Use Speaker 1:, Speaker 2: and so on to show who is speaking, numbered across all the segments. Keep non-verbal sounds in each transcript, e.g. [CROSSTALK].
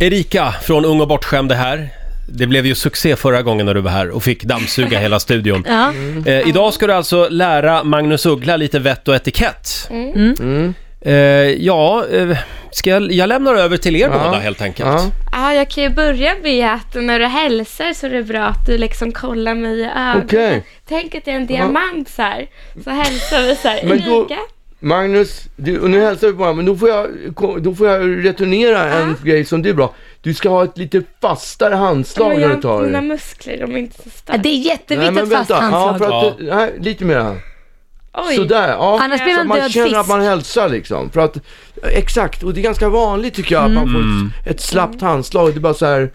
Speaker 1: Erika från Ung och bortskämd är här. Det blev ju succé förra gången när du var här och fick dammsuga hela studion.
Speaker 2: Ja.
Speaker 1: Eh, idag ska du alltså lära Magnus Uggla lite vett och etikett. Eh, ja, eh, ska jag, jag lämnar över till er båda helt enkelt.
Speaker 3: Ja.
Speaker 2: Ja, jag kan ju börja med att när du hälsar så är det bra att du liksom kollar mig i ögonen.
Speaker 3: Okej.
Speaker 2: Tänk att det är en diamant så här. Så hälsar vi så här.
Speaker 3: Men då-
Speaker 2: Erika?
Speaker 3: Magnus, du, och nu hälsar vi på varandra, men då får jag, då får jag returnera en grej som du är bra. Du ska ha ett lite fastare handslag
Speaker 2: Men
Speaker 3: när
Speaker 2: jag
Speaker 3: du
Speaker 2: har
Speaker 3: tar
Speaker 2: mina
Speaker 3: i.
Speaker 2: muskler, de är inte så
Speaker 4: Ja,
Speaker 2: starka.
Speaker 4: det är
Speaker 3: Nej,
Speaker 4: jätteviktigt
Speaker 3: men
Speaker 4: fast
Speaker 3: vänta. Ja,
Speaker 4: handslag.
Speaker 3: för att, nej, lite mer. här.
Speaker 2: Oj,
Speaker 3: Sådär, ja.
Speaker 4: Annars
Speaker 3: Så
Speaker 4: blir
Speaker 3: att
Speaker 4: man
Speaker 3: man
Speaker 4: död
Speaker 3: känner
Speaker 4: fisk.
Speaker 3: att man hälsar liksom. För att, exakt, och det är ganska vanligt tycker jag att man får ett, ett slappt handslag. Det är bara så här,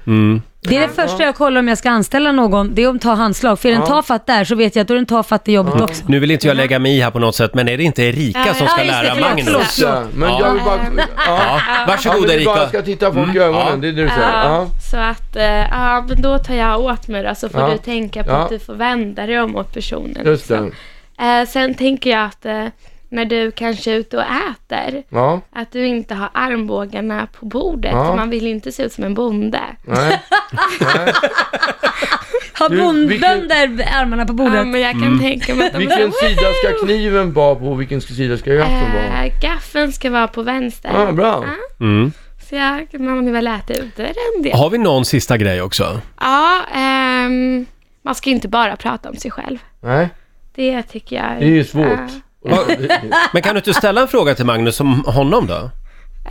Speaker 4: Det är det första jag kollar om jag ska anställa någon, det är om ta handslag. För är det en tafatt där så vet jag att då är det en tafatt i jobbet också.
Speaker 1: Nu vill inte jag lägga mig i här på något sätt, men är det inte Erika
Speaker 2: Ja,
Speaker 1: som
Speaker 2: ja,
Speaker 1: ska
Speaker 4: just det,
Speaker 1: lära
Speaker 4: förlåt,
Speaker 1: Magnus?
Speaker 4: förlåt.
Speaker 3: så, här. men
Speaker 1: Ja.
Speaker 3: jag vill bara... Ja.
Speaker 1: Ja.
Speaker 3: Han
Speaker 1: Varsågod
Speaker 3: vill bara
Speaker 1: Erika.
Speaker 3: ska titta folk i ögonen,
Speaker 1: Ja.
Speaker 3: det är det du säger.
Speaker 2: Ja,
Speaker 3: Ja.
Speaker 2: så att, eh, ja men då tar jag åt mig då, så får
Speaker 3: Ja.
Speaker 2: du tänka på
Speaker 3: Ja.
Speaker 2: att du får vända dig om åt personen.
Speaker 3: Just det.
Speaker 2: liksom. Eh, sen tänker jag att eh, när du kanske är ute och äter,
Speaker 3: Ja,
Speaker 2: att du inte har armbågarna på bordet.
Speaker 3: Ja.
Speaker 2: för Man vill ju inte se ut som en bonde.
Speaker 3: nej.
Speaker 4: Har
Speaker 3: Du,
Speaker 4: bonden
Speaker 3: vilken-
Speaker 4: där armarna på
Speaker 2: Ja,
Speaker 4: bordet?
Speaker 2: men jag kan
Speaker 3: Mm.
Speaker 2: tänka mig att de
Speaker 3: Vilken sida ska kniven vara på och vilken sida ska gaffeln vara?
Speaker 2: Eh, gaffeln ska vara på vänster.
Speaker 3: Ja, bra.
Speaker 1: Mm.
Speaker 2: Så jag, man vill väl äta ute en del.
Speaker 1: Har vi någon sista grej också?
Speaker 2: Ja, ehm, man ska inte bara prata om sig själv.
Speaker 3: Nej,
Speaker 2: Det tycker jag
Speaker 3: det är ju svårt.
Speaker 2: Ja.
Speaker 1: Men kan du inte ställa en fråga till Magnus om honom då?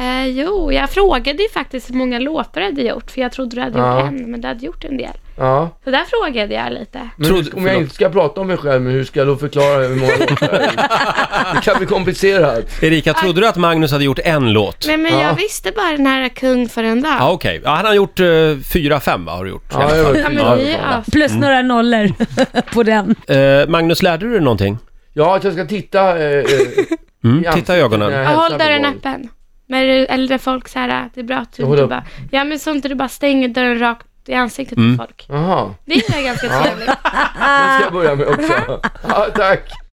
Speaker 2: Eh, jo, jag frågade ju faktiskt hur många låtar du hade gjort, för jag trodde du hade
Speaker 3: Ja.
Speaker 2: gjort en, men du hade gjort en del.
Speaker 3: [LAUGHS] Ja.
Speaker 2: Så där frågade jag lite.
Speaker 3: Men
Speaker 1: Trodde-
Speaker 3: hur- om jag
Speaker 1: förlåt.
Speaker 3: inte ska prata om mig själv, men hur ska jag då förklara hur många
Speaker 1: [LAUGHS]
Speaker 3: låtar jag har gjort? Det kan bli komplicerat.
Speaker 1: Erika, trodde du att Magnus hade gjort en låt?
Speaker 2: Nej, men
Speaker 3: Ja.
Speaker 2: jag visste bara den här Kung för en dag.
Speaker 1: Ja, okej. Ja, han har gjort eh, fyra, fem va, har du gjort? i
Speaker 3: Ja,
Speaker 1: alla
Speaker 3: jag
Speaker 1: fall.
Speaker 3: vet.
Speaker 2: Ja, men
Speaker 3: Ja,
Speaker 2: vi
Speaker 3: det
Speaker 2: är
Speaker 3: var bra.
Speaker 2: as-
Speaker 4: Plus några nollor [LAUGHS] på den.
Speaker 1: Eh, Magnus, lärde du dig någonting? Mm,
Speaker 3: Ja, att jag ska titta... Eh, eh, i
Speaker 1: titta i ögonen.
Speaker 3: ansiktet när jag
Speaker 2: Ja,
Speaker 3: hälsar
Speaker 2: håll
Speaker 3: på
Speaker 2: dörren
Speaker 3: folk.
Speaker 2: öppen. Men det- äldre folk så här, det är bra att du
Speaker 3: Jag håller
Speaker 2: inte
Speaker 3: upp.
Speaker 2: bara... Ja, men så inte du bara stänger dörren rakt i ansiktet
Speaker 3: Mm.
Speaker 2: på folk.
Speaker 3: Jaha,
Speaker 2: Det är ganska trevligt. Ah.
Speaker 3: det ska jag börja med också. Ja, tack.